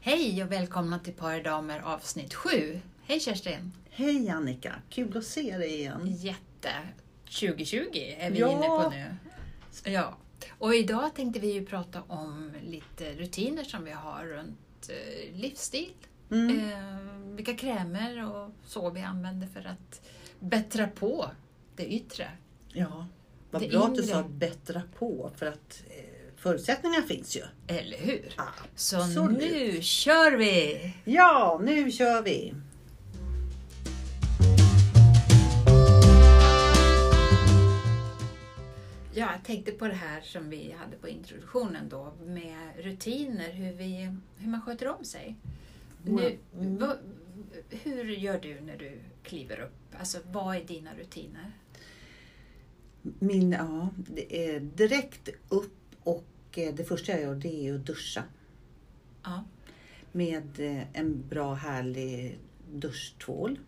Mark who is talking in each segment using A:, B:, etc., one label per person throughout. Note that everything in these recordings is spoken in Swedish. A: Hej och välkomna till Paridamer avsnitt 7. Hej Kerstin!
B: Hej Annika, kul att se dig
A: Eh,
B: igen.
A: Jätte 2020 är vi
B: Ja.
A: inne på nu. Ja. Och idag tänkte vi ju prata om lite rutiner som vi har runt eh, livsstil.
B: Mm.
A: Eh, vilka krämer och så vi använder för att bättra på det yttre.
B: Ja, vad
A: det
B: bra att du sa
A: inre.
B: bättra på för att eh, förutsättningar finns ju.
A: Eller hur? Så
B: Absolut.
A: nu kör vi!
B: Ja, nu kör vi.
A: Ja, jag tänkte på det här som vi hade på introduktionen då med rutiner, hur, vi, hur man sköter om sig. Nu,
B: Mm.
A: vad, hur gör du när du kliver upp? Alltså, vad är dina rutiner?
B: Min, ja, det är direkt upp och eh, det första jag gör det är ju att duscha
A: Ja.
B: med eh, en bra härlig duschtvål.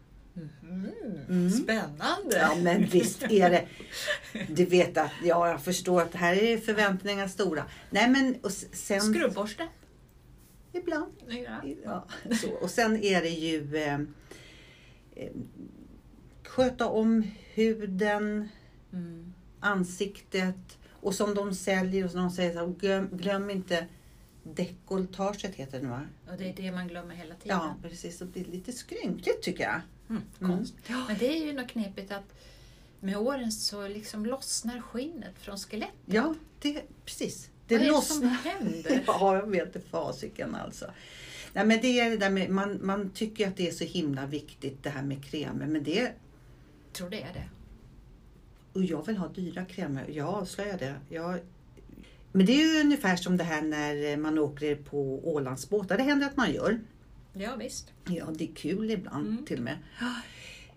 B: Mm.
A: Spännande!
B: Ja men visst är det. Du vet att, ja jag förstår att här är förväntningarna stora. Nej men och s- sen
A: Skrubborste?
B: ibland
A: Ja.
B: Ja, så. Och sen är det ju eh, eh, sköta om huden,
A: Mm.
B: ansiktet och som de säljer och som de säger så här, glöm, glöm inte dekolletaget heter det nu va?
A: Och det är det man glömmer hela tiden.
B: Ja, precis. Och det är lite skrynkligt tycker jag.
A: Mm. Konstigt. Men det är ju något knepigt att med åren så liksom lossnar skinnet från skelettet.
B: Ja, det, precis.
A: Vad är det som
B: lossnar.
A: händer?
B: Ja, jag vet inte fasiken alltså. Nej, men det är det där med, man, man tycker att det är så himla viktigt det här med kremer, men det
A: Tror det är det.
B: Och jag vill ha dyra krämer. Jag avslöjar det. Jag... Men det är ju ungefär som det här när man åker på Ålandsbåtar. Det händer att man gör.
A: Ja, visst.
B: Ja, det är kul ibland
A: Mm.
B: till och med.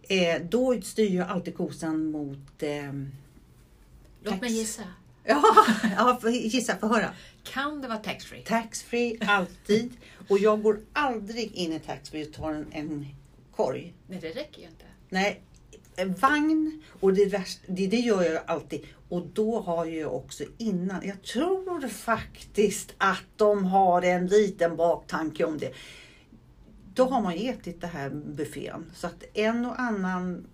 B: Eh, då styr jag alltid kosan mot... ehm,
A: Låt mig
B: Tax.
A: gissa.
B: Ja, ja för, gissa, få höra.
A: Kan det vara taxfree?
B: Taxfree, alltid. Och jag går aldrig in i taxfree och tar en, en korg.
A: Nej, det räcker ju inte.
B: Nej, en vagn och det, värst, det, det gör jag ju alltid. Och då har jag ju också innan, jag tror faktiskt att de har en liten baktanke om det. Då har man ju ätit det här buffén så att en och annan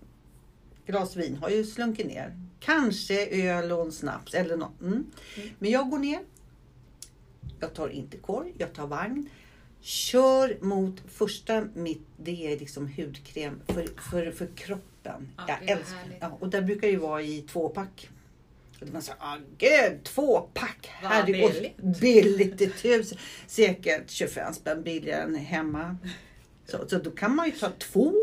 B: glas vin har ju slunkit ner. Kanske öl och en snaps eller något. Mm. Men jag går ner. Jag tar inte korg, jag tar vagn. Kör mot första mitt, det är liksom hudkräm för, för, för kroppen.
A: Ja,
B: jag
A: Ah, det är
B: älskar
A: härligt.
B: ja, Och där brukar det ju vara i tvåpack. Och man säger, ah, gud, tvåpack!
A: Vad
B: herregud."
A: billigt.
B: Billigt till tusen. Säkert 25 spänn billigare än hemma. Så, så då kan man ju ta två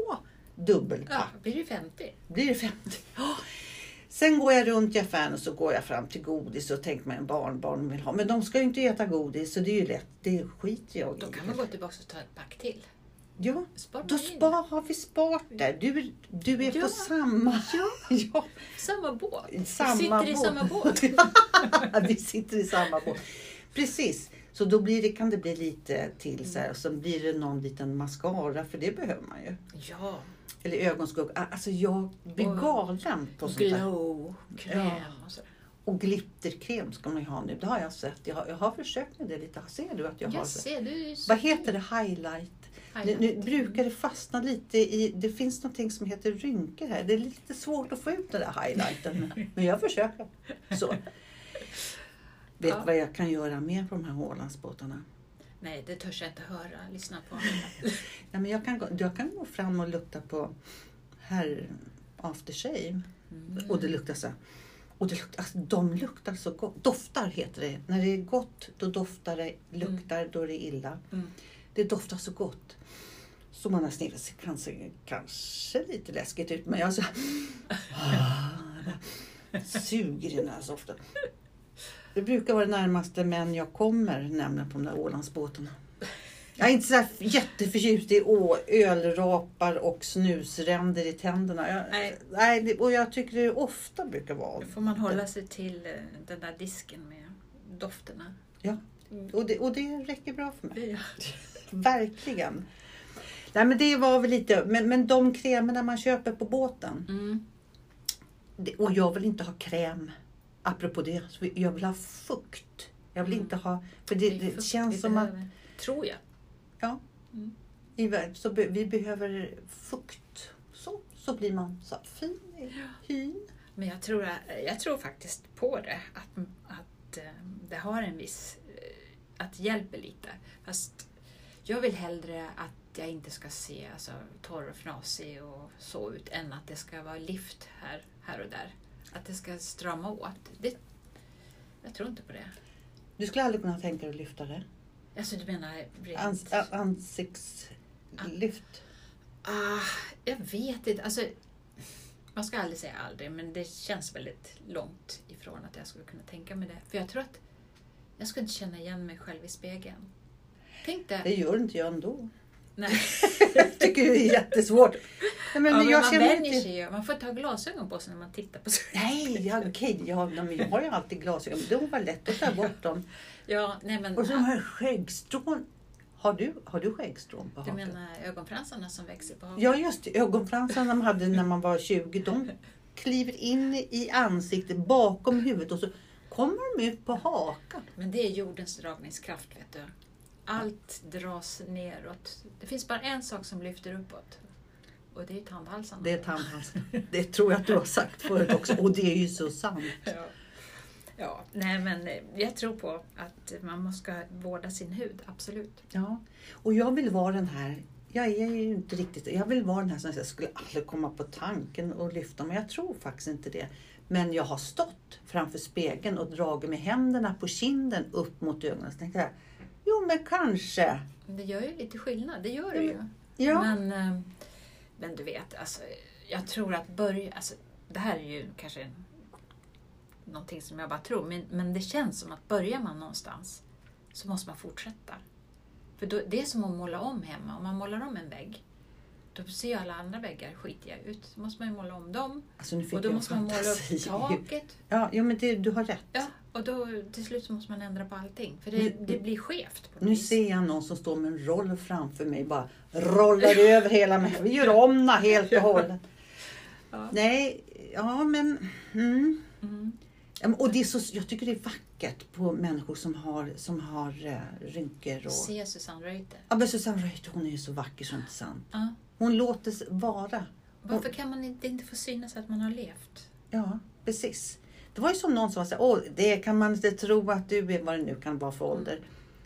B: dubbelpack
A: Ja, blir det 50.
B: blir det 50. Ja. Sen går jag runt i affären och så går jag fram till godis och tänker mig en barnbarn vill ha. Men de ska ju inte äta godis så det är ju lätt. Det skiter jag i.
A: Då kan man gå tillbaka och ta ett pack till.
B: Ja,
A: Spar
B: då
A: man in.
B: spa, har vi sparat det. Du, är- du är
A: Ja.
B: på samma... Ja.
A: Samma båt. Vi
B: Samma
A: sitter i
B: båt.
A: samma båt.
B: vi sitter i samma båt. Precis. Så då blir det, kan det bli lite till så här. Och så blir det någon liten mascara för det behöver man ju.
A: ja,
B: Eller ögonskugga. Alltså jag blir
A: Och-
B: galen på sånt där.
A: glow, kräm och så.
B: Och glitterkräm ska man ju ha nu. Det har jag sett. Jag har, jag har försökt med det lite. Ser du att jag har
A: Jag
B: det?
A: ser, du är så
B: Vad heter det? Highlight?
A: Highlight.
B: Nu, nu brukar det fastna lite i... Det finns någonting som heter rynkor här. Det är lite svårt att få ut den där highlighten. men- men jag försöker. Så. Vet
A: Ja.
B: vad jag kan göra mer på de här Ålandsbåtarna?
A: Nej, det törs jag inte höra. Lyssna på.
B: Nej, men jag, kan gå, jag kan gå fram och lukta på herr after shave.
A: Mm.
B: Och det luktar så här. Och det luktar, alltså, de luktar så gott. Doftar heter det. När det är gott då doftar det, luktar då är det illa.
A: Mm.
B: Det doftar så gott. Så man har snirrat sig kanske, kanske lite läskigt ut men jag så ah, suger i den här soften. Det brukar vara det närmaste män jag kommer nämligen på de där Ålandsbåtarna. Jag är inte så här jätteförtjust i å, ölrapar och snusränder i tänderna. Jag,
A: Nej.
B: nej, det- och jag tycker det ofta brukar vara.
A: Då får man hålla sig till eh, den där disken med dofterna.
B: Ja. Och det, och det räcker bra för mig.
A: Ja. Mm.
B: Verkligen. Nej, men det var väl lite, men, men de krämerna man köper på båten.
A: Mm.
B: Det, och jag vill inte ha kräm. Apropå det, så jag vill ha fukt. Jag vill inte ha, för det,
A: Mm. är
B: det
A: fukt
B: känns
A: vi
B: som att
A: behöver. Tror jag.
B: Ja.
A: Mm.
B: I vär- Så be- vi behöver fukt. Så, så blir man så här fin i hyn.
A: Men jag tror, jag tror faktiskt på det, att, att eh, det har en viss, eh, att det hjälper lite. Fast jag vill hellre att jag inte ska se alltså, torr och fnasig och så ut än att det ska vara lift här, här och där. Att det ska strama åt. Det, jag tror inte på det.
B: Du skulle aldrig kunna tänka dig att lyfta det?
A: Alltså du menar rent...
B: Ans- a- ansiktslyft?
A: Ah, jag vet inte. Alltså, man ska aldrig säga aldrig, men det känns väldigt långt ifrån att jag skulle kunna tänka mig det. För jag tror att jag skulle inte känna igen mig själv i spegeln. Tänk
B: Det
A: dig.
B: gör inte jag ändå.
A: Nej.
B: Jag tycker det är jättesvårt. Nej, men
A: ja, men
B: jag
A: man
B: känner
A: vänjer
B: inte...
A: sig ju. Man får ta glasögon på sig när man tittar på sig.
B: Nej, ja, okej. Jag, har- men jag har ju alltid glasögon. De var lätt att ta bort dem.
A: Ja, nej men...
B: Och så de här skäggstrån. Har du, har du skäggstrån på
A: Du
B: hakan?
A: menar ögonfransarna som växer på hakan?
B: Ja, just det. Ögonfransarna de hade när man var 20, de kliver in i ansiktet bakom huvudet och så kommer de ut på hakan.
A: Men det är jordens dragningskraft, vet du. Allt dras neråt. Det finns bara en sak som lyfter uppåt. Och det är tandhalsarna.
B: Det är tandhalsen. Det tror jag att du har sagt förut också. Och det är ju så sant.
A: Ja. ja, nej men eh, jag tror på att man måste vårda sin hud, absolut.
B: Ja. Och jag vill vara den här, jag är ju inte riktigt Jag vill vara den här som jag skulle aldrig komma på tanken och lyfta, men jag tror faktiskt inte det. Men jag har stått framför spegeln och dragit med händerna på kinden upp mot ögonen. Så tänkte jag, jo men kanske.
A: Men Det gör ju lite skillnad, det gör det ju.
B: Ja.
A: Men, eh, men du vet, alltså, jag tror att börja... Alltså, det här är ju kanske någonting som jag bara tror, men, men det känns som att börjar man någonstans så måste man fortsätta. För då, det är som att måla om hemma. Om man målar om en vägg, då ser ju alla andra väggar skitiga ut. Då måste man ju måla om dem
B: Alltså nu fick
A: och då
B: jag
A: måste man måla upp
B: fantasi.
A: taket
B: Ja, ja, men det, du har rätt.
A: Ja, och då till slut så måste man ändra på allting. För det, det blir skevt. På något
B: Nu
A: vis.
B: ser jag någon som står med en roll framför mig bara rollar över hela mig. Vi gör om den helt och hållet.
A: Ja.
B: Nej, ja men... Mm.
A: Mm.
B: Ja, men- Och det är så, jag tycker det är vackert på människor som har, som har eh, rynkor och...
A: Se Susanne Reuter.
B: Ja, men Susanne Reuter, hon är ju så vacker så inte sant.
A: Ja.
B: Hon låter s- vara.
A: Varför kan man inte, inte få synas att man har levt?
B: Ja, precis. Det var ju som någon som sa åh, det kan man inte tro att du är, vad det nu kan vara för ålder.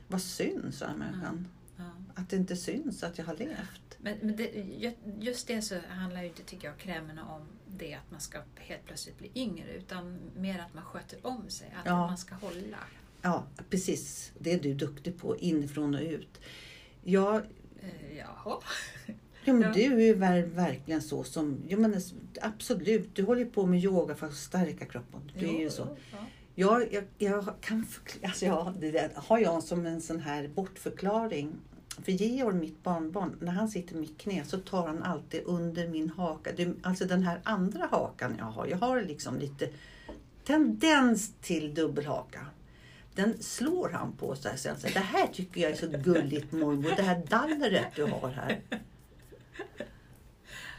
B: Vad synd, sa den människan.
A: Mm. Ja.
B: Att det inte syns att jag har levt.
A: Men, men det, ju- just det så handlar ju inte, tycker jag, krämerna om det att man ska helt plötsligt bli yngre. Utan mer att man sköter om sig. Att
B: Ja.
A: man ska hålla.
B: Ja, precis. Det är du duktig på, inifrån och ut. Ja,
A: Eh, jaha.
B: ja, men
A: Ja.
B: du är ju ver- verkligen så som... Jag menar, absolut, du håller ju på med yoga för att stärka kroppen. Du är ju så.
A: Ja.
B: Jag, jag, jag kan förklara, alltså jag, det där, har jag som en sån här bortförklaring. För Georg, mitt barnbarn, när han sitter i mitt knä så tar han alltid under min haka. Det, alltså den här andra hakan jag har. Jag har liksom lite tendens till dubbelhaka. Den slår han på så här. Sen säger, det här tycker jag är så gulligt mormor. Det här dallret du har här.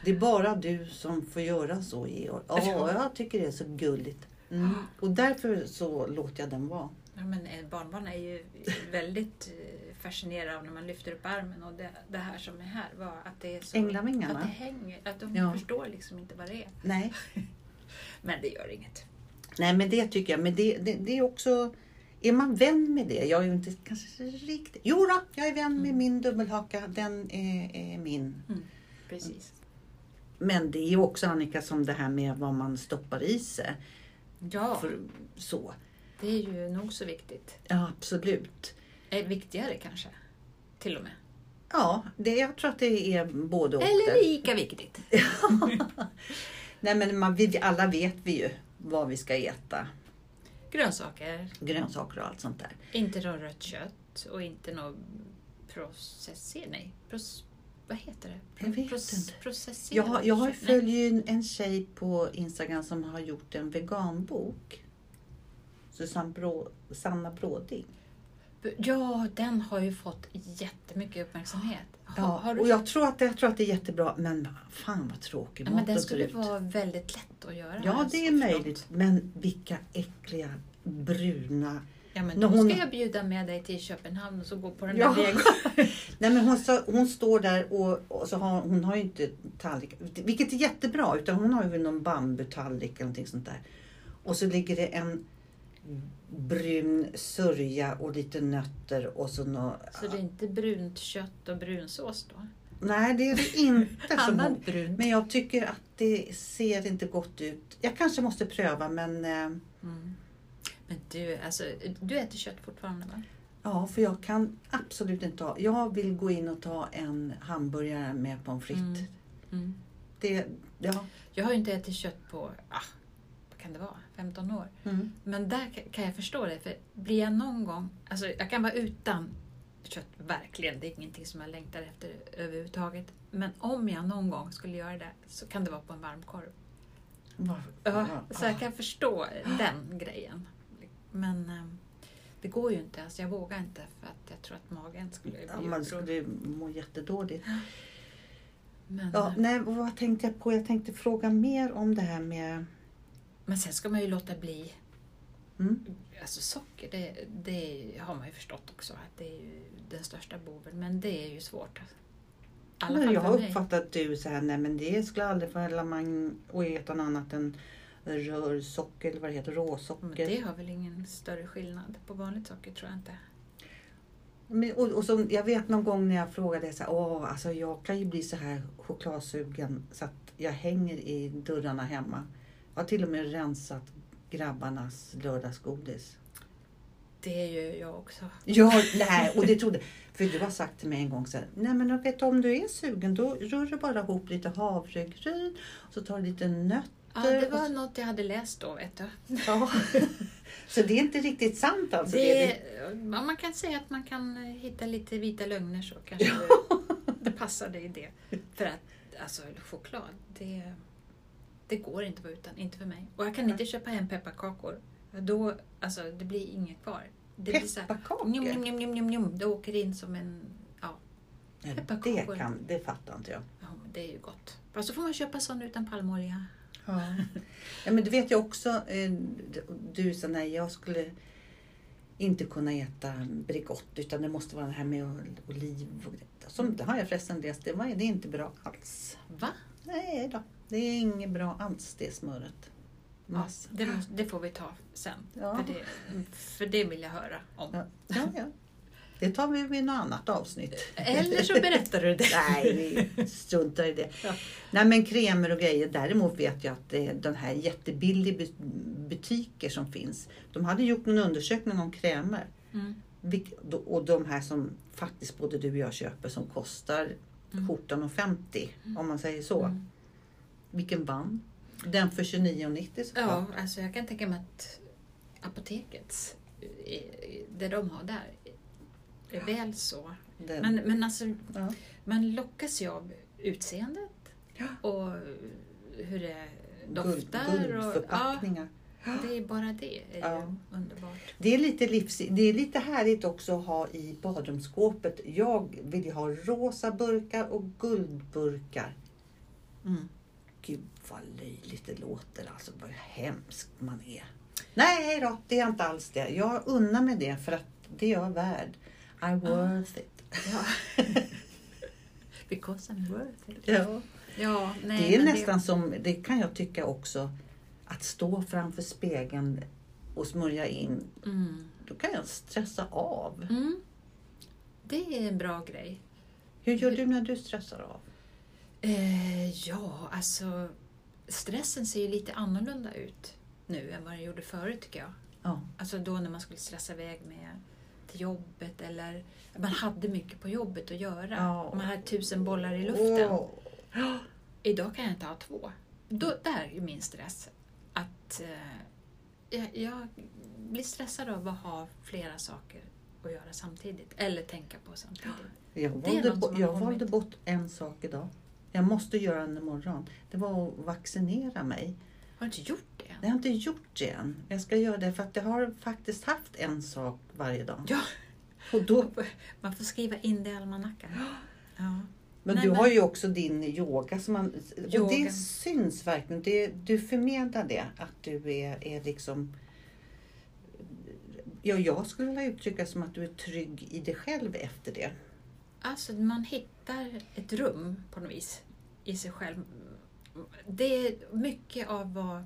B: Det är bara du som får göra så Georg. Ja, jag tycker det är så gulligt. Mm. Och därför så låter jag den vara.
A: Ja, men eh, barnbarn är ju väldigt eh, fascinerade av när man lyfter upp armen och det, det här som är här. Var att det är så,
B: Änglavingarna?
A: Att det hänger. Att de
B: Ja.
A: förstår liksom inte vad det är.
B: Nej.
A: Men det gör inget.
B: Nej, men det tycker jag. Men det, det, det är också... Är man vän med det? Jag är ju inte kanske riktigt... Jo då, jag är vän
A: Mm.
B: med min dubbelhaka. Den är, är min.
A: Precis.
B: Men det är ju också Annika som det här med vad man stoppar i sig.
A: Ja,
B: Mm. För, så.
A: det är ju nog så viktigt.
B: Ja, absolut.
A: Eh, viktigare kanske. Till och med.
B: Ja, det, jag tror att det är både och.
A: Eller
B: där.
A: lika viktigt.
B: Nej, men man, vi, alla vet vi ju vad vi ska äta.
A: Grönsaker.
B: Grönsaker och allt sånt där.
A: Inte något rött kött och inte något processer. Nej, pros, vad heter det?
B: Jag vet inte.
A: Processerat
B: Jag, har- jag har-
A: kött. Nej.
B: följer ju en- en tjej på Instagram som har gjort en veganbok. Susanne Brå, Sanna Bråding.
A: Ja, den har ju fått jättemycket uppmärksamhet. Har,
B: Ja,
A: har du,
B: och jag tror, att, jag tror att det är jättebra, men fan vad tråkig
A: ja, men
B: maten
A: den
B: ser
A: skulle
B: ut.
A: vara väldigt lätt att göra.
B: Ja,
A: alltså,
B: det är
A: för dem.
B: möjligt, men vilka äckliga bruna
A: Ja, men
B: När
A: då
B: hon-
A: ska jag bjuda med dig till Köpenhamn och så gå på den
B: Ja.
A: där vägen.
B: Nej, men hon, sa- hon står där och, och så har, hon har ju inte tallrik, vilket är jättebra, utan hon har ju någon bambutallrik eller någonting sånt där. Och så ligger det en brun sörja och lite nötter och så nå,
A: Så det är inte brunt kött och brunsås då?
B: Nej, det är det inte. som hon,
A: Annat brunt.
B: men jag tycker att det ser inte gott ut. Jag kanske måste pröva, men eh,
A: Mm. Men du, alltså, du äter kött fortfarande va?
B: ja, för jag kan absolut inte ha. Jag vill gå in och ta en hamburgare med pommes frites.
A: Mm. Mm.
B: Det, ja.
A: Jag har ju inte ätit kött på, ah, vad kan det vara, 15 år.
B: Mm.
A: Men där ka- kan jag förstå det, för blir jag någon gång, alltså jag kan vara utan kött, verkligen, det är ingenting som jag längtar efter överhuvudtaget. Men om jag någon gång skulle göra det så kan det vara på en varmkorv.
B: Varför-
A: Ja,
B: ja,
A: så jag kan förstå den grejen. Men eh, det går ju inte, alltså jag vågar inte för att jag tror att magen skulle bli
B: Ja, man
A: upprörd.
B: skulle må jättedåligt.
A: Men, ehm,
B: Ja, nej, och vad tänkte jag på? Jag tänkte fråga mer om det här med...
A: men sen ska man ju låta bli
B: Mm.
A: Alltså socker, det, det har man ju förstått också att det är ju den största boven, men det är ju svårt. I alla
B: Men
A: fall
B: jag
A: för
B: har
A: mig.
B: uppfattat du så här, nej men det skulle aldrig falla man och äta något annat än rörsocker eller vad det heter,
A: Men
B: råsocker.
A: det har väl ingen större skillnad på vanligt socker tror jag inte.
B: Men, och, och som, jag vet någon gång när jag frågade så här, Åh, alltså jag kan ju bli så här chokladsugen så att jag hänger i dörrarna hemma. Jag har till och med rensat grabbarnas lördagsgodis.
A: Det är ju jag också.
B: Ja, nej, och det trodde För du har sagt till mig en gång så här, nej men jag vet om du är sugen då rör du bara ihop lite havregryn och så tar du lite nötter.
A: Ja, det
B: och
A: var
B: så,
A: något jag hade läst då, vet du.
B: ja. så det är inte riktigt sant alltså?
A: det,
B: är det-
A: ja, man kan säga att man kan eh, hitta lite vita lögner så kanske det passar dig i det. För att alltså, choklad, det, det går inte att vara utan. Inte för mig. Och jag kan inte köpa hem pepparkakor. Då, alltså, det blir inget kvar. Det blir så här,
B: Pepparkakor?
A: njum, njum, njum, njum, njum, njum. Det åker in som en... Ja,
B: Nej,
A: pepparkakor.
B: det, kan, det fattar inte jag.
A: ja men det är ju gott. Fast så får man köpa sån utan palmolja.
B: Ja. men du vet ju också, eh, du sa nej jag skulle inte kunna äta Bregott utan det måste vara det här med ol- oliv och det. Som, det har jag förresten läst, det, var, det är inte bra alls.
A: Va?
B: Nej då, det är inget bra alls det smöret.
A: Ja,
B: Massa.
A: det, måste, det får vi ta sen.
B: Ja.
A: För, det, för det vill jag höra om.
B: Ja, ja, ja. Det tar vi vid något annat avsnitt.
A: Eller så berättar du det.
B: Nej, vi struntar i det.
A: Ja.
B: Nej men kremer och grejer. Däremot vet jag att eh, de här jättebilliga bu- butiker som finns. De hade gjort en undersökning om krämer.
A: Mm.
B: Vilk- då- Och de här som faktiskt både du och jag köper som kostar 14,50 om man säger så.
A: Mm.
B: Vilken vann? Den för 29,90 såklart.
A: Ja, alltså jag kan tänka mig att apotekets, eh, det de har där, är väl så.
B: Den,
A: Men, men alltså,
B: ja.
A: man lockas ju av utseendet
B: Ja.
A: och hur det
B: Guld,
A: doftar. och, ja,
B: guldförpackningar.
A: det är bara det. är
B: Ja.
A: ju underbart.
B: Det är lite livs... Det är lite härligt också att ha i badrumsskåpet. Jag vill ju ha rosa burkar och guldburkar. Mm. Gud vad löjligt det låter alltså. Vad hemskt man är. Nej då, det är inte alls det. Jag unnar mig det för att det är jag värd. I worth it.
A: Ja. Because I'm worth it.
B: Ja.
A: Ja, nej,
B: Det är
A: men
B: nästan som, det kan jag tycka också, att stå framför spegeln och smörja in.
A: Det, mm.
B: Då kan jag stressa av.
A: Mm. det är en bra grej.
B: Hur gör du när du stressar av?
A: Eh, ja, alltså stressen ser ju lite annorlunda ut nu än vad den gjorde förut tycker jag.
B: Ja.
A: Alltså då när man skulle stressa iväg med till jobbet eller man hade mycket på jobbet att göra.
B: Ja.
A: Man hade tusen bollar i luften.
B: Åh.
A: Idag kan jag inte ha två. Då, där är min stress. Att eh, jag, jag blir stressad av att ha flera saker att göra samtidigt eller tänka på samtidigt.
B: Jag
A: Det är
B: valde,
A: något som
B: bo-
A: har
B: jag
A: kommit.
B: valde bort en sak idag. Jag måste göra den imorgon. Det var att vaccinera mig.
A: Har du inte gjort det än?
B: Jag har inte gjort det än. Jag ska göra det för att jag har faktiskt haft en sak varje dag.
A: Ja.
B: Och då,
A: Man får skriva in det i almanackan. Ja.
B: men
A: Nej,
B: du
A: men-
B: har ju också din yoga. Som man, och
A: Yoga.
B: det syns verkligen. Det, du förmedlar det. Att du är, är liksom Ja, jag skulle vilja uttrycka som att du är trygg i dig själv efter det.
A: Alltså man hittar ett rum på något vis i sig själv. Det är mycket av vad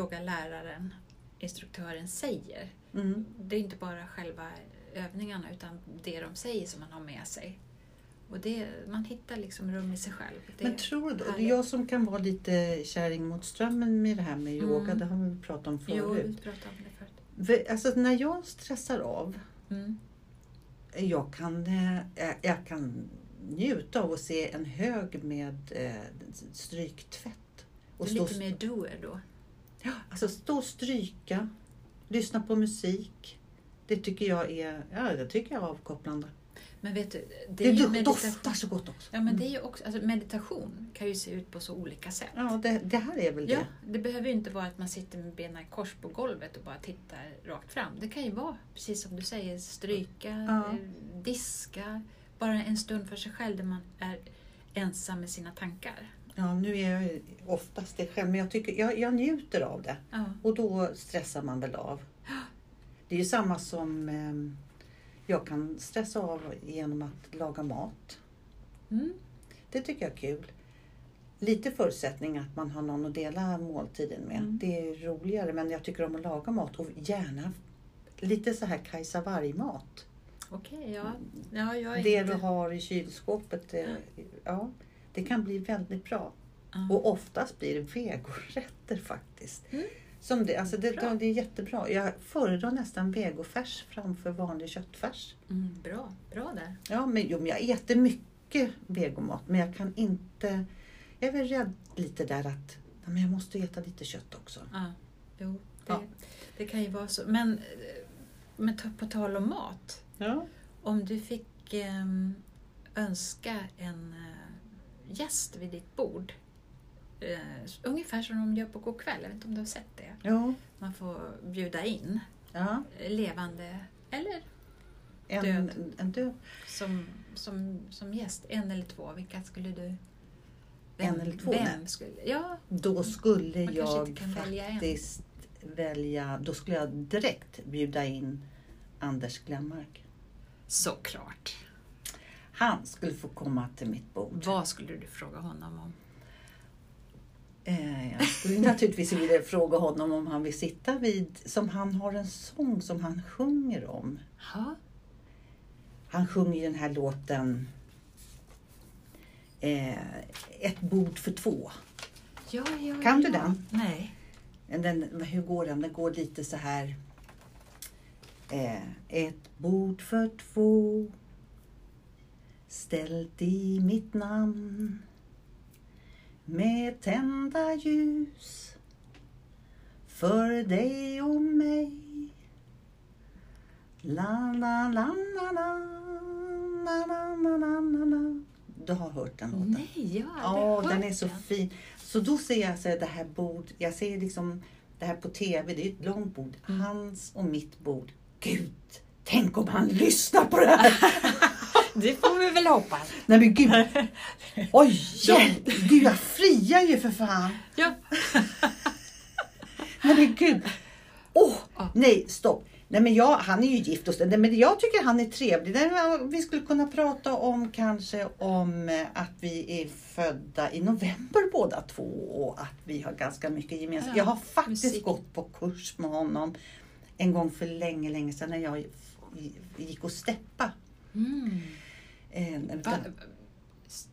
A: yogaläraren, instruktören säger.
B: Mm.
A: Det är inte bara själva övningarna utan det de säger som man har med sig. Och det, man hittar liksom rum i sig själv. Det,
B: Men tror du, och
A: härligt.
B: jag som kan vara lite kärring mot strömmen med det här med
A: Mm.
B: yoga, det har vi pratat om
A: jo, vi
B: förut.
A: pratade om det förut.
B: V- Alltså när jag stressar av,
A: Mm.
B: jag kan, eh, jag- jag kan njuta av att se en hög med eh, stryktvätt. Och stå,
A: Lite mer doer då.
B: Ja, alltså stå och stryka, lyssna på musik. Det tycker jag är, ja, det tycker jag är avkopplande.
A: Men vet du, det
B: Det,
A: är ju
B: do- doftar
A: meditation.
B: så gott också.
A: Ja, men det är ju också, alltså meditation kan ju se ut på så olika sätt.
B: Ja, det, det här är väl
A: Ja,
B: det.
A: det behöver ju inte vara att man sitter med benen i kors på golvet och bara tittar rakt fram. Det kan ju vara, precis som du säger, stryka,
B: Ja.
A: eh, diska, bara en stund för sig själv där man är ensam med sina tankar.
B: Ja, nu är jag ju oftast det själv, men jag, tycker, jag, jag njuter av det.
A: Ja.
B: Och då stressar man väl av. Det är ju samma som ehm, jag kan stressa av genom att laga mat.
A: Mm.
B: Det tycker jag är kul. Lite förutsättning att man har någon att dela måltiden med.
A: Mm.
B: Det är roligare men jag tycker om att laga mat och gärna lite så här Kajsa Warg-mat.
A: Okej, ja. ja jag är
B: Det
A: inte...
B: du har i kylskåpet, det, ja, det kan bli väldigt bra.
A: Ja.
B: Och oftast blir det vegorätter faktiskt.
A: Mm.
B: Som det, alltså det,
A: Bra.
B: det är jättebra. Jag föredrar nästan vegofärs framför vanlig köttfärs.
A: Mm, bra, bra där.
B: Ja, men, jo, men jag äter mycket vegomat men jag kan inte... Jag är väl rädd lite där att nej, men jag måste äta lite kött också.
A: Ja. Jo, det,
B: Ja.
A: det kan ju vara så. Men, eh, men ta- på tal om mat.
B: Ja.
A: Om du fick ehm, önska en eh, gäst vid ditt bord, eh, s- ungefär som de gör på Go'kväll, jag vet inte om du har sett det?
B: Jo.
A: Man får bjuda in
B: Ja.
A: eh, levande eller
B: En
A: Död.
B: död. En, död.
A: som, som, som gäst, en eller två, vilka skulle du...
B: En eller två,
A: Vem skulle, ja,
B: Då skulle
A: Man kanske
B: jag
A: inte kan välja en.
B: faktiskt välja, Då skulle jag direkt bjuda in Anders Glenmark.
A: såklart.
B: Han skulle få komma till mitt bord.
A: Vad skulle du fråga honom om?
B: Eh, Jag skulle naturligtvis vilja fråga honom om han vill sitta vid, som han har en sång som han sjunger om.
A: Ja,
B: Han sjunger den här låten eh, Ett bord för två.
A: ja, ja,
B: Kan du
A: ja.
B: den?
A: Nej.
B: Den, hur går den? Den går lite så här. Eh, ett bord för två ställt i mitt namn med tända ljus för dig och mig. La, la, la, la, la, la, la, la, la, la, la. Du har hört den låten?
A: Nej, jag har
B: Ja,
A: aldrig
B: den
A: hört
B: är så fin. Så då ser jag så här, det här bord, jag ser liksom det här på TV, det är ett långt bord, hans och mitt bord. Gud, tänk om han lyssnar på det här!
A: Det får vi väl hoppas.
B: Nej men gud! Oj! jävlar. Gud, jag friar ju för fan!
A: Ja.
B: Nej men gud! Åh!
A: Ja.
B: Nej, stopp! Nej men jag, han är ju gift och så, nej, men jag tycker han är trevlig. Nej, men Vi skulle kunna prata om kanske om eh, att vi är födda i november båda två och att vi har ganska mycket gemensamt.
A: Ja,
B: jag har faktiskt
A: musik.
B: gått på kurs med honom en gång för länge, länge sedan när jag gick och steppa.
A: Mm.
B: Eh,
A: Va?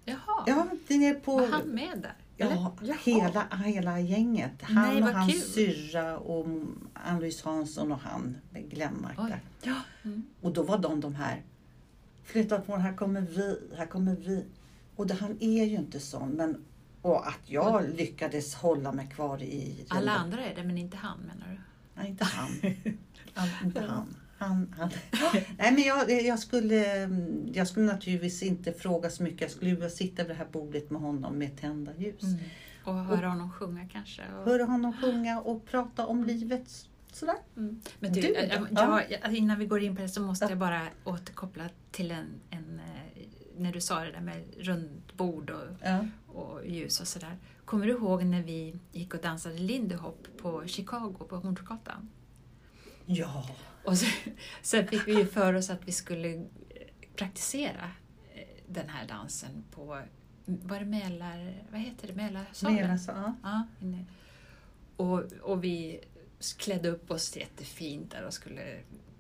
A: Jaha,
B: Ja, det är nere på...
A: var han med där?
B: Ja,
A: Eller? Jaha.
B: hela, hela gänget. Han
A: Nej,
B: och
A: vad
B: hans
A: kul.
B: syrra och Ann-Louise Hansson och han, Glenmark
A: Oj.
B: där.
A: Ja. Mm.
B: Och då var de de här. Flytta på den, här kommer vi, här kommer vi. Och det, han är ju inte sån. Men, och att jag
A: Mm.
B: lyckades hålla mig kvar i...
A: Alla andra är det, men inte han menar du?
B: Nej, inte han. han inte han. Han, han. Nej, men jag, jag, skulle, jag skulle naturligtvis inte fråga så mycket. Jag skulle vilja sitta vid det här bordet med honom med tända ljus.
A: Mm. Och höra honom sjunga kanske? Och...
B: höra honom sjunga och prata om livet. Sådär.
A: Mm. Men du,
B: Du
A: jag, jag,
B: då?
A: jag- alltså, innan vi går in på det så måste
B: Ja.
A: jag bara återkoppla till en, en eh, när du sa det där med runt bord och,
B: Ja.
A: och ljus och sådär. Kommer du ihåg när vi gick och dansade Lindy Hop på Chicago på Hornsgatan?
B: ja.
A: Och så, sen fick vi ju för oss att vi skulle praktisera eh, den här dansen på, var det Mälar, vad heter det, Mälarsalen?
B: Men alltså, ja.
A: Ja, inne. Och, och vi klädde upp oss jättefint där och skulle,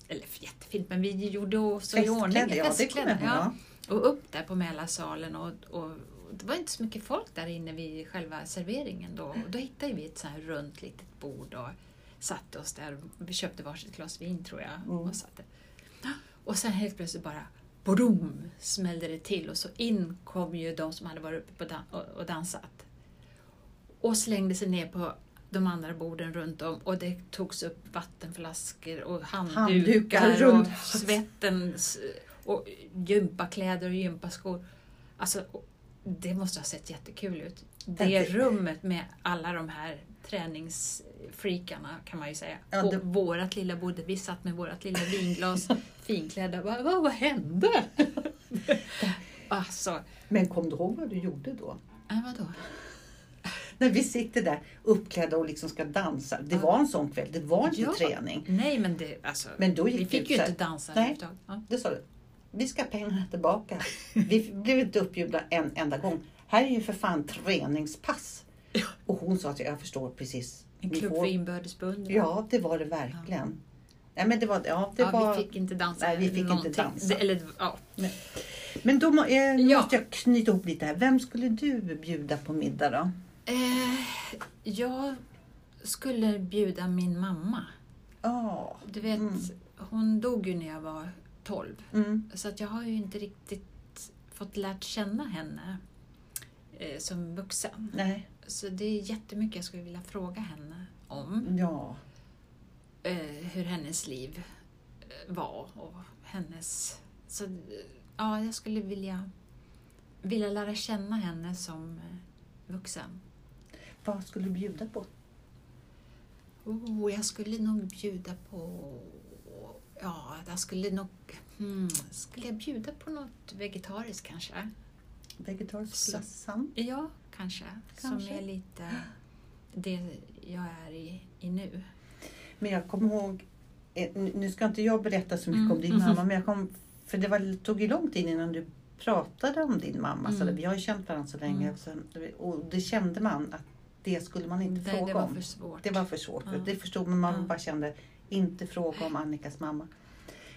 A: eller jättefint, men vi gjorde oss i ordning.
B: Festklädda, ja, det kommer
A: Festklädda,
B: jag ihåg. ja.
A: och upp där på Mälarsalen och, och det var inte så mycket folk där inne vid själva serveringen då. Och då hittade vi ett så här runt litet bord och satte oss där. Vi köpte varsitt glas vin tror jag.
B: Mm.
A: Och, satte. och sen helt plötsligt bara brum, smällde det till och så in kom ju de som hade varit uppe på dan- och, och dansat. Och slängde sig ner på de andra borden runt om och det togs upp vattenflaskor och handdukar,
B: Handdukar
A: och
B: runt.
A: svetten s- och gympakläder och gympaskor. Alltså, och det måste ha sett jättekul ut. Det
B: Tänk-
A: rummet med alla de här träningsfreakarna kan man ju säga.
B: Ja, det-
A: Och vårat lilla bord, vi satt med vårat lilla vinglas finklädda. Vad, vad, vad hände? alltså,
B: Men kom du ihåg vad du gjorde då?
A: äh, vadå?
B: När vi sitter där uppklädda och liksom ska dansa. Det
A: Ja.
B: var en sån kväll, det var inte
A: Ja.
B: träning.
A: Nej, men det, alltså,
B: Men då gick
A: vi
B: det
A: fick
B: ut
A: ju
B: så här-
A: inte dansa
B: Nej.
A: efter. Ja.
B: Det sa du. Vi ska ha pengarna tillbaka. Vi blev inte uppbjudna en enda gång. Här är ju för fan träningspass. Och hon sa att jag förstår precis.
A: En
B: Ni
A: klubb
B: får-
A: för inbördesbund.
B: Ja, det var det verkligen. Nej, men det var, ja, det
A: ja,
B: var...
A: Vi fick inte dansa.
B: Nej, vi fick inte
A: någonting.
B: dansa.
A: Det, eller, ja.
B: Men då må, eh,
A: Ja.
B: måste jag knyta ihop lite här. Vem skulle du bjuda på middag då?
A: eh, jag skulle bjuda min mamma.
B: Ja.
A: Du vet,
B: Mm.
A: hon dog ju när jag var 12.
B: Mm.
A: Så att jag har ju inte riktigt fått lärt känna henne eh, som vuxen.
B: Nej.
A: Så det är jättemycket jag skulle vilja fråga henne om.
B: Ja.
A: Eh, hur hennes liv eh, var och hennes... Så, eh, ja, jag skulle vilja, vilja lära känna henne som eh, vuxen.
B: Vad skulle du bjuda på?
A: Oh, jag skulle nog bjuda på... Ja, jag skulle nog... Hmm, skulle jag bjuda på något vegetariskt kanske?
B: Vegetarisk
A: Så-
B: lasagne?
A: Ja, kanske. Som
B: Kanske.
A: är lite det jag är i, i nu.
B: Men jag kommer ihåg, eh, nu nu ska inte jag berätta så mycket
A: Mm.
B: om din
A: Mhm.
B: mamma, men jag kom, för det var, tog ju lång tid innan du pratade om din mamma. Så
A: Mm.
B: vi har ju känt varandra så länge
A: Mm.
B: och sen, och det kände man att det skulle man inte
A: det,
B: fråga
A: det var
B: om.
A: för svårt.
B: Det var för svårt.
A: Ja.
B: Det förstod man, man
A: Ja.
B: bara kände, inte fråga om Annikas mamma.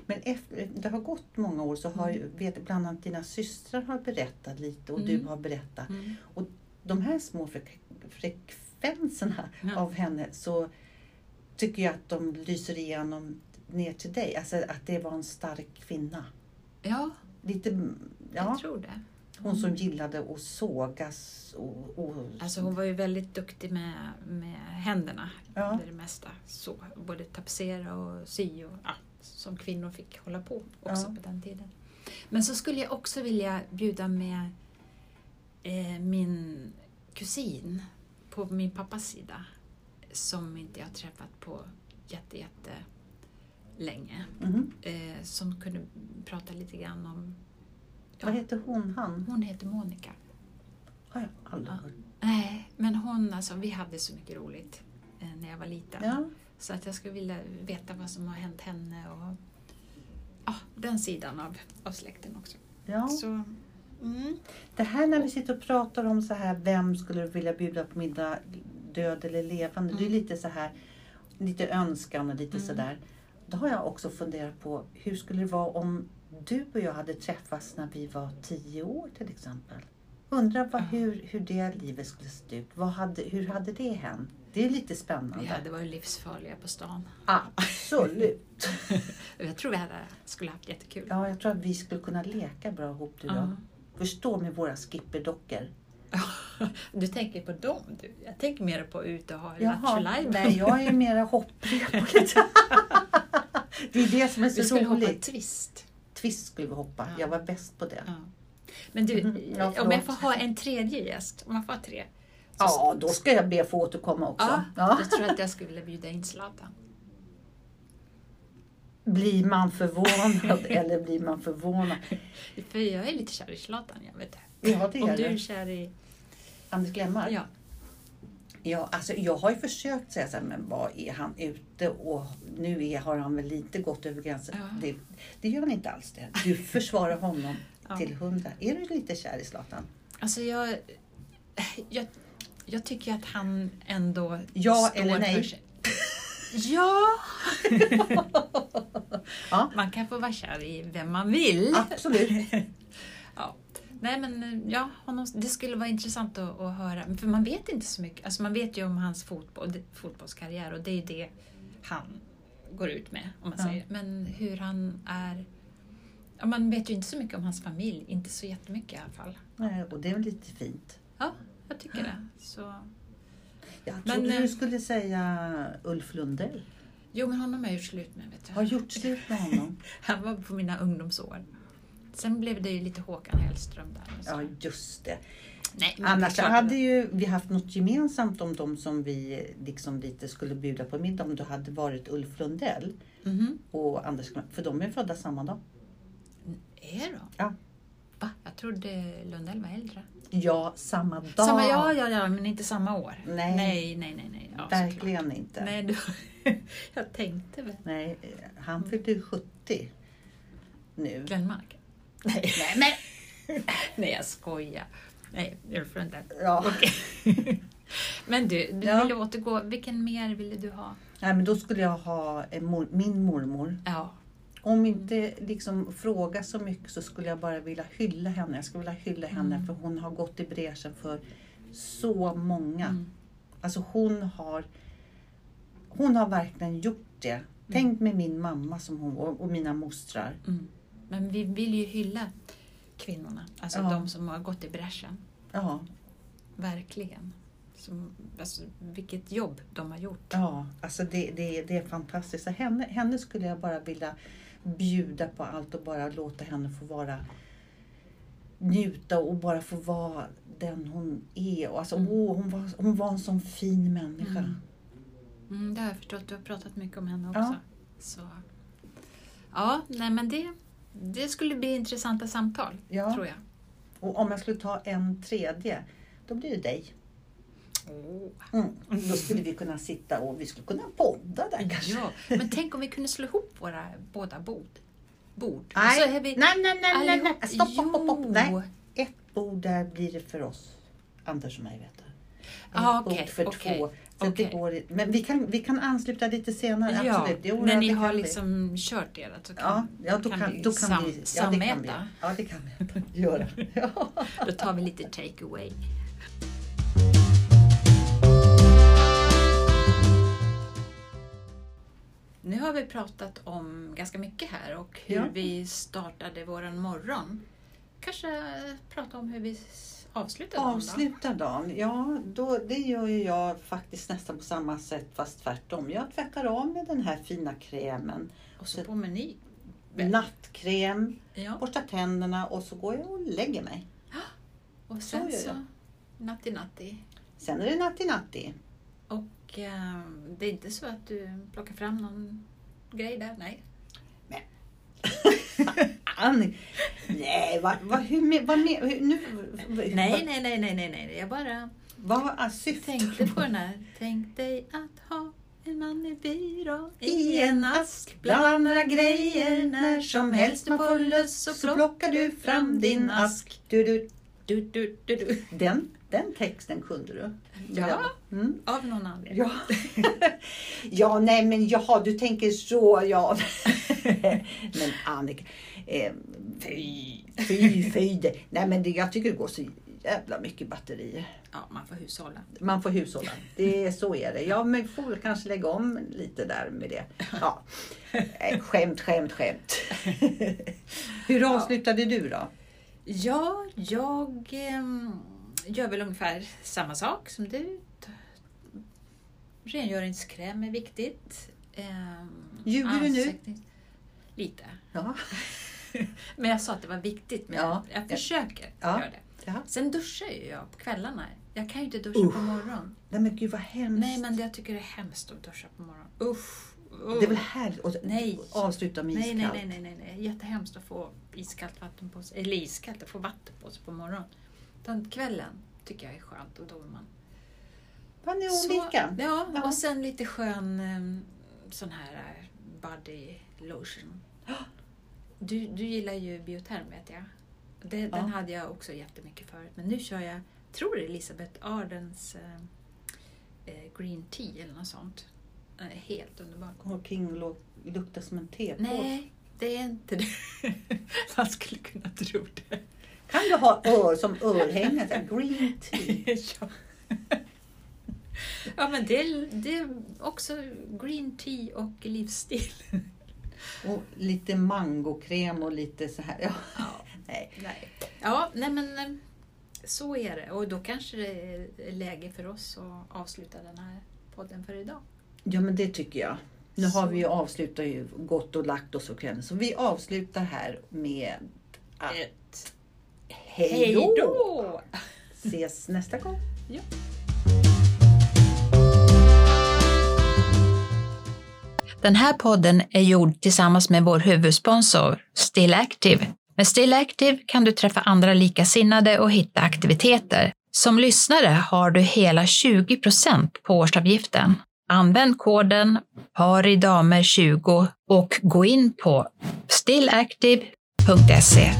B: Men efter, det har gått många år så har ju, vet, bland annat dina systrar har berättat lite och du
A: Mm.
B: har berättat.
A: Mm.
B: De här små frek- frekvenserna
A: Ja.
B: av henne så tycker jag att de lyser igenom ner till dig. Alltså att det var en stark kvinna.
A: Ja,
B: Lite, ja,
A: jag tror det.
B: hon som gillade att sågas och, och
A: Alltså hon var ju väldigt duktig med, med händerna.
B: Ja.
A: Det, är det mesta. Så, både tapetsera och sy och ja, som kvinnor fick hålla på också
B: Ja.
A: på den tiden. Men så skulle jag också vilja bjuda med eh, min kusin på min pappas sida som inte jag träffat på jätte, jätte länge.
B: Mhm.
A: Eh, som kunde prata lite grann om...
B: Vad heter hon, han?
A: Hon heter Monica.
B: Har jag aldrig
A: Ja.
B: hört.
A: Nej, men hon alltså, vi hade så mycket roligt eh, när jag var liten.
B: Ja.
A: Så att jag skulle vilja veta vad som har hänt henne och ja, den sidan av, av släkten också.
B: Ja.
A: Så, mm.
B: Det här när vi sitter och pratar om så här, vem skulle du vilja bjuda på middag, död eller levande? Det är
A: Mm.
B: lite så här, lite önskan och lite
A: Mm.
B: sådär. Då har jag också funderat på, hur skulle det vara om du och jag hade träffats när vi var tio år till exempel? Undrar vad,
A: Ja.
B: hur, hur det livet skulle se ut. Vad hade, hur hade det hänt? Det är lite spännande.
A: Vi hade varit livsfarliga på stan.
B: Absolut.
A: Och Jag tror vi hade, skulle haft jättekul.
B: Ja, jag tror att vi skulle kunna leka bra ihop du och jag.
A: Ja.
B: Förstå med våra skipperdockor.
A: Du tänker på dem du. Jag tänker mer på ut och ha
B: Jaha,
A: lattjo
B: nej jag är mera hopprep och lite. Det är det som är
A: Vi
B: så
A: skulle hoppa
B: roligt.
A: twist.
B: Twist skulle vi hoppa,
A: Ja.
B: jag var bäst på det.
A: Ja. Men du,
B: Mhm, ja,
A: om jag
B: förlåt.
A: får ha en tredje gäst, om jag får ha tre. så-
B: Ja, då ska jag be att få återkomma också.
A: Ja,
B: Ja.
A: Jag tror att jag skulle vilja bjuda in Zlatan.
B: Blir man förvånad eller blir man förvånad?
A: För jag är lite kär i Zlatan, jag vet det.
B: Ja, det
A: Om
B: är
A: du är
B: det.
A: kär i...
B: Anders Glenmark?
A: Ja.
B: Ja, alltså jag har ju försökt säga så här, men vad är han ute och nu är, har han väl lite gått över gränsen.
A: Ja.
B: Det, det gör han inte alls det. Du försvarar honom
A: Ja.
B: till hundra. Är du lite kär i Zlatan?
A: Alltså jag, jag, jag tycker att han ändå
B: Ja
A: står
B: eller nej?
A: för sig. Ja,
B: Ja,
A: man kan få vara kär i vem man vill.
B: absolut.
A: Ja. Nej men eh, ja, honom, det skulle vara intressant att, att höra. För man vet inte så mycket. Alltså man vet ju om hans fotboll, fotbollskarriär och det är ju det han går ut med. Om man
B: Ja.
A: säger. Men hur han är... Ja, man vet ju inte så mycket om hans familj. Inte så jättemycket i alla fall.
B: Nej, och det är väl lite fint.
A: Ja, jag tycker det. Så.
B: Jag
A: Men,
B: trodde du
A: eh,
B: skulle säga Ulf Lundell.
A: Jo men honom har jag gjort slut med vet
B: Har
A: du.
B: gjort slut med honom.
A: Han var på mina ungdomsår. Sen blev det ju lite Håkan Hellström där. och så.
B: Ja, just det.
A: Nej, men
B: Annars
A: det är klart
B: hade ju vi haft något gemensamt om de som vi liksom lite skulle bjuda på middag om du hade varit Ulf Lundell
A: Mhm.
B: och Anders Gren- För de är födda samma dag.
A: Är de?
B: Ja.
A: Va? Jag trodde Lundell var äldre.
B: Ja, samma dag.
A: Samma, ja, ja, ja, men inte samma år.
B: Nej.
A: nej, nej. nej, nej. Ja, såklart.
B: Verkligen inte. Nej.
A: Nej, du, jag tänkte väl.
B: eh, han fyllde ju 70 nu.
A: Glenmark? Nej. nej, men. nej, jag skojar. Nej, Ulf Lundell.
B: Ja.
A: Men du, du
B: Ja.
A: ville återgå. Vilken mer ville du ha?
B: Nej, men då skulle jag ha eh, mor- min mormor.
A: Ja,
B: Om inte liksom fråga så mycket så skulle jag bara vilja hylla henne. Jag skulle vilja hylla henne för hon har gått i bräschen för så många.
A: Mm.
B: Alltså hon har, hon har verkligen gjort det. Tänk med min mamma som hon, och, och mina mostrar.
A: mm. men vi vill ju hylla kvinnorna. Alltså
B: Ja.
A: de som har gått i bräschen.
B: Ja,
A: Verkligen. Som, alltså, vilket jobb de har gjort.
B: ja alltså det, det, det är fantastiskt. Så henne, henne skulle jag bara vilja bjuda på allt och bara låta henne få vara njuta och bara få vara den hon är. Och alltså, åh, hon, var, hon var en sån fin människa.
A: Mm. Mm, det har jag förstått. Du har pratat mycket om henne också.
B: Ja.
A: Ja, Så. ja nej men det, det skulle bli intressanta samtal,
B: Ja.
A: tror jag.
B: Och om jag skulle ta en tredje, då blir det dig. Mm. Då skulle vi kunna sitta och vi skulle kunna podda där kanske.
A: Ja. Men tänk om vi kunde slå ihop våra båda bord. bord.
B: Nej.
A: Och Så är vi
B: Nej, nej, nej, nej,
A: allihop-
B: nej. Stopp, stopp, stopp, stopp.
A: Jo.
B: Nej. Ett bord där blir det för oss, Anders och mig vet du. Ett
A: Ah, okej,
B: bord för
A: okej,
B: två. Så att det
A: okej.
B: går, i- men vi kan, vi kan ansluta lite senare,
A: Ja,
B: absolut. Jo,
A: när
B: ja,
A: ni
B: det
A: har
B: kan vi.
A: liksom kört er så
B: Ja,
A: kan,
B: ja, då kan,
A: vi
B: då kan
A: sam,
B: vi ja, det kan vi.
A: samäta.
B: Ja, det kan vi göra. Ja.
A: Då tar vi lite take away. Nu har vi pratat om ganska mycket här och hur
B: Ja.
A: vi startade våran morgon. Kanske prata om hur vi s- avslutade dagen
B: Avsluta dagen, ja då, det gör ju jag faktiskt nästan på samma sätt fast tvärtom. Jag tvättar av med den här fina krämen.
A: då. Och så på meny. Väl.
B: Nattkräm,
A: Ja.
B: borstar tänderna och så går jag och lägger mig.
A: Och
B: så
A: sen
B: gör jag.
A: så natti natti.
B: Sen är det natti-natti.
A: Och eh, det är inte så att du plockar fram någon grej där? Nej.
B: Annie. Nej, vad, vad, hur, med- vad, med- hur, nu,
A: Nej, nej, nej, nej, nej, nej. Jag bara
B: Vad var ah, syftet?
A: Tänkte på den här. Tänk dig att ha en man i byrå
B: I en ask blandar grejer när som helst man får lust så plockar du fram din ask. Du, du,
A: Du, du, du, du.
B: den, den texten kunde du.
A: Ja,
B: Mm.
A: av någon anledning.
B: Ja. ja, nej men jaha, du tänker så ja. men Annika, eh, fy, fy, fy. det- Nej men det, jag tycker det går så jävla mycket batterier.
A: Ja, man får hushålla.
B: Man får hushålla. Det, så är det. Ja, men vi får väl kanske lägga om lite där med det. Ja. Eh, Skämt, skämt, skämt. Hur avslutade du då?
A: Ja, jag ehm, gör väl ungefär samma sak som du. T- Rengöringskräm är viktigt. Ehm,
B: Ljuger du nu?
A: ansiktes- Lite.
B: Ja.
A: Men jag sa att det var viktigt. Men
B: Ja.
A: Jag försöker
B: Ja.
A: göra det.
B: ja.
A: Sen duschar ju jag på kvällarna. Jag kan ju inte duscha på morgonen.
B: Nej men gud vad hemskt.
A: Nej, men jag tycker det är hemskt att duscha på morgonen. Usch! usch.
B: Det är väl härligt att
A: Nej.
B: avsluta med
A: nej,
B: iskallt?
A: nej, nej, nej, nej, nej. Jättehemskt att få iskallt vatten på sig. Eller iskallt, att få vatten på sig på morgonen. Den kvällen tycker jag är skönt och då är man...
B: Man är olika.
A: Så, ja,
B: Ja.
A: och sen lite skön eh, sån här eh, body lotion. Du, du gillar ju bioterm vet jag. Det,
B: Ja.
A: Den hade jag också jättemycket förut. Men nu kör jag, tror det är Elisabeth Ardens eh, eh, green tea eller något sånt. Eh, Helt underbart.
B: Och King lo- luktar som en tekål.
A: Nej, det är inte det. Man skulle kunna tro det.
B: Kan du ha ör som örhänge? så här, Green tea.
A: ja. ja, men det är, det är också green tea och livsstil.
B: Och lite mangokräm och lite så här. Ja.
A: Ja,
B: Nej.
A: nej. Ja, nej men eh, så är det. Och då kanske det är läge för oss att avsluta den här podden för idag.
B: ja, men det tycker jag. Nu
A: Så.
B: har vi ju avslutat ju gått och lagt oss för kvällen. Så vi avslutar här med att Eh, hej då!
A: då!
B: Ses nästa gång.
A: Ja. Den här podden är gjord tillsammans med vår huvudsponsor Still Active. Med Still Active kan du träffa andra likasinnade och hitta aktiviteter. Som lyssnare har du hela 20 på årsavgiften. Använd koden paridamer20 och gå in på stillactive.se.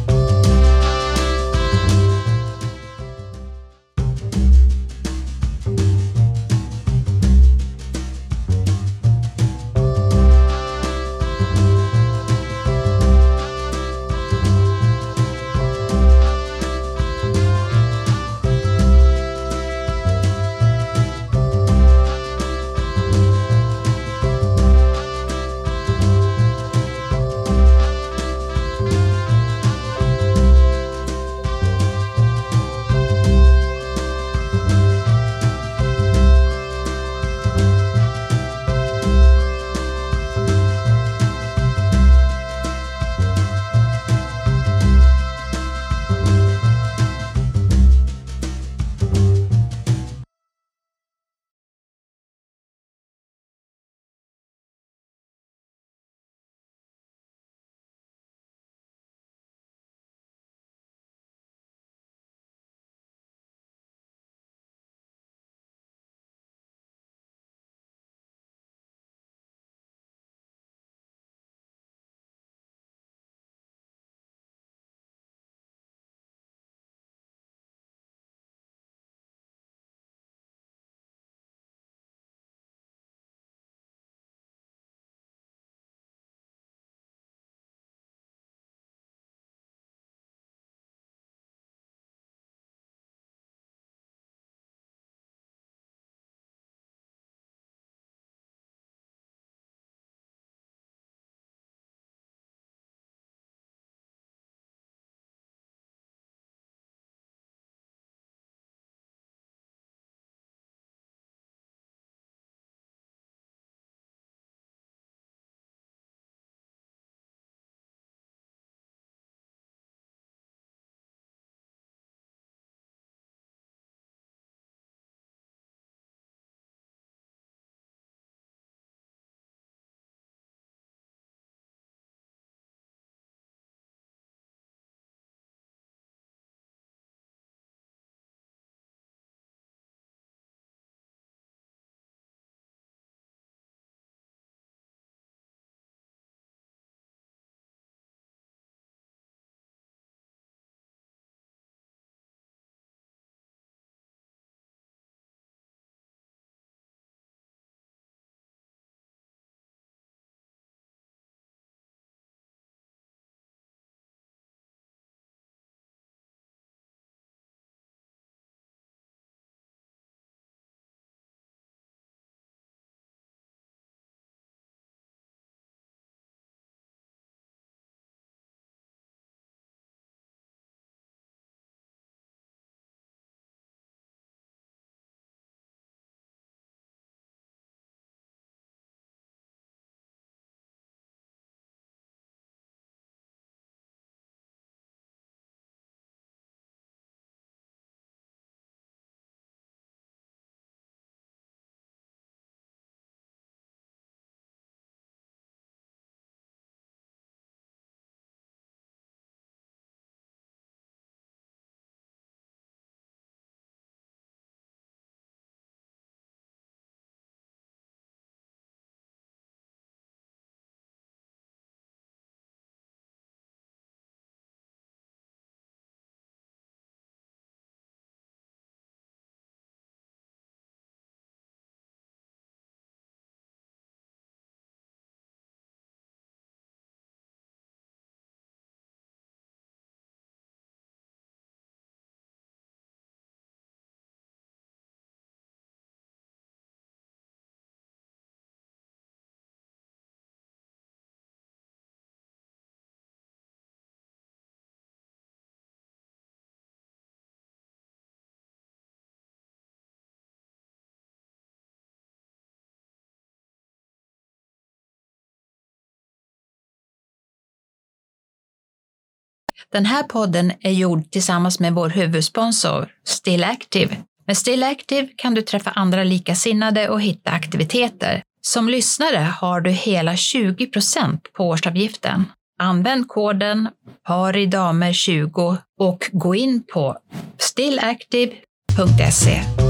A: Den här podden är gjord tillsammans med vår huvudsponsor Still Active. Med Still Active kan du träffa andra likasinnade och hitta aktiviteter. Som lyssnare har du hela 20 på årsavgiften. Använd koden paridamer20 och gå in på stillactive.se.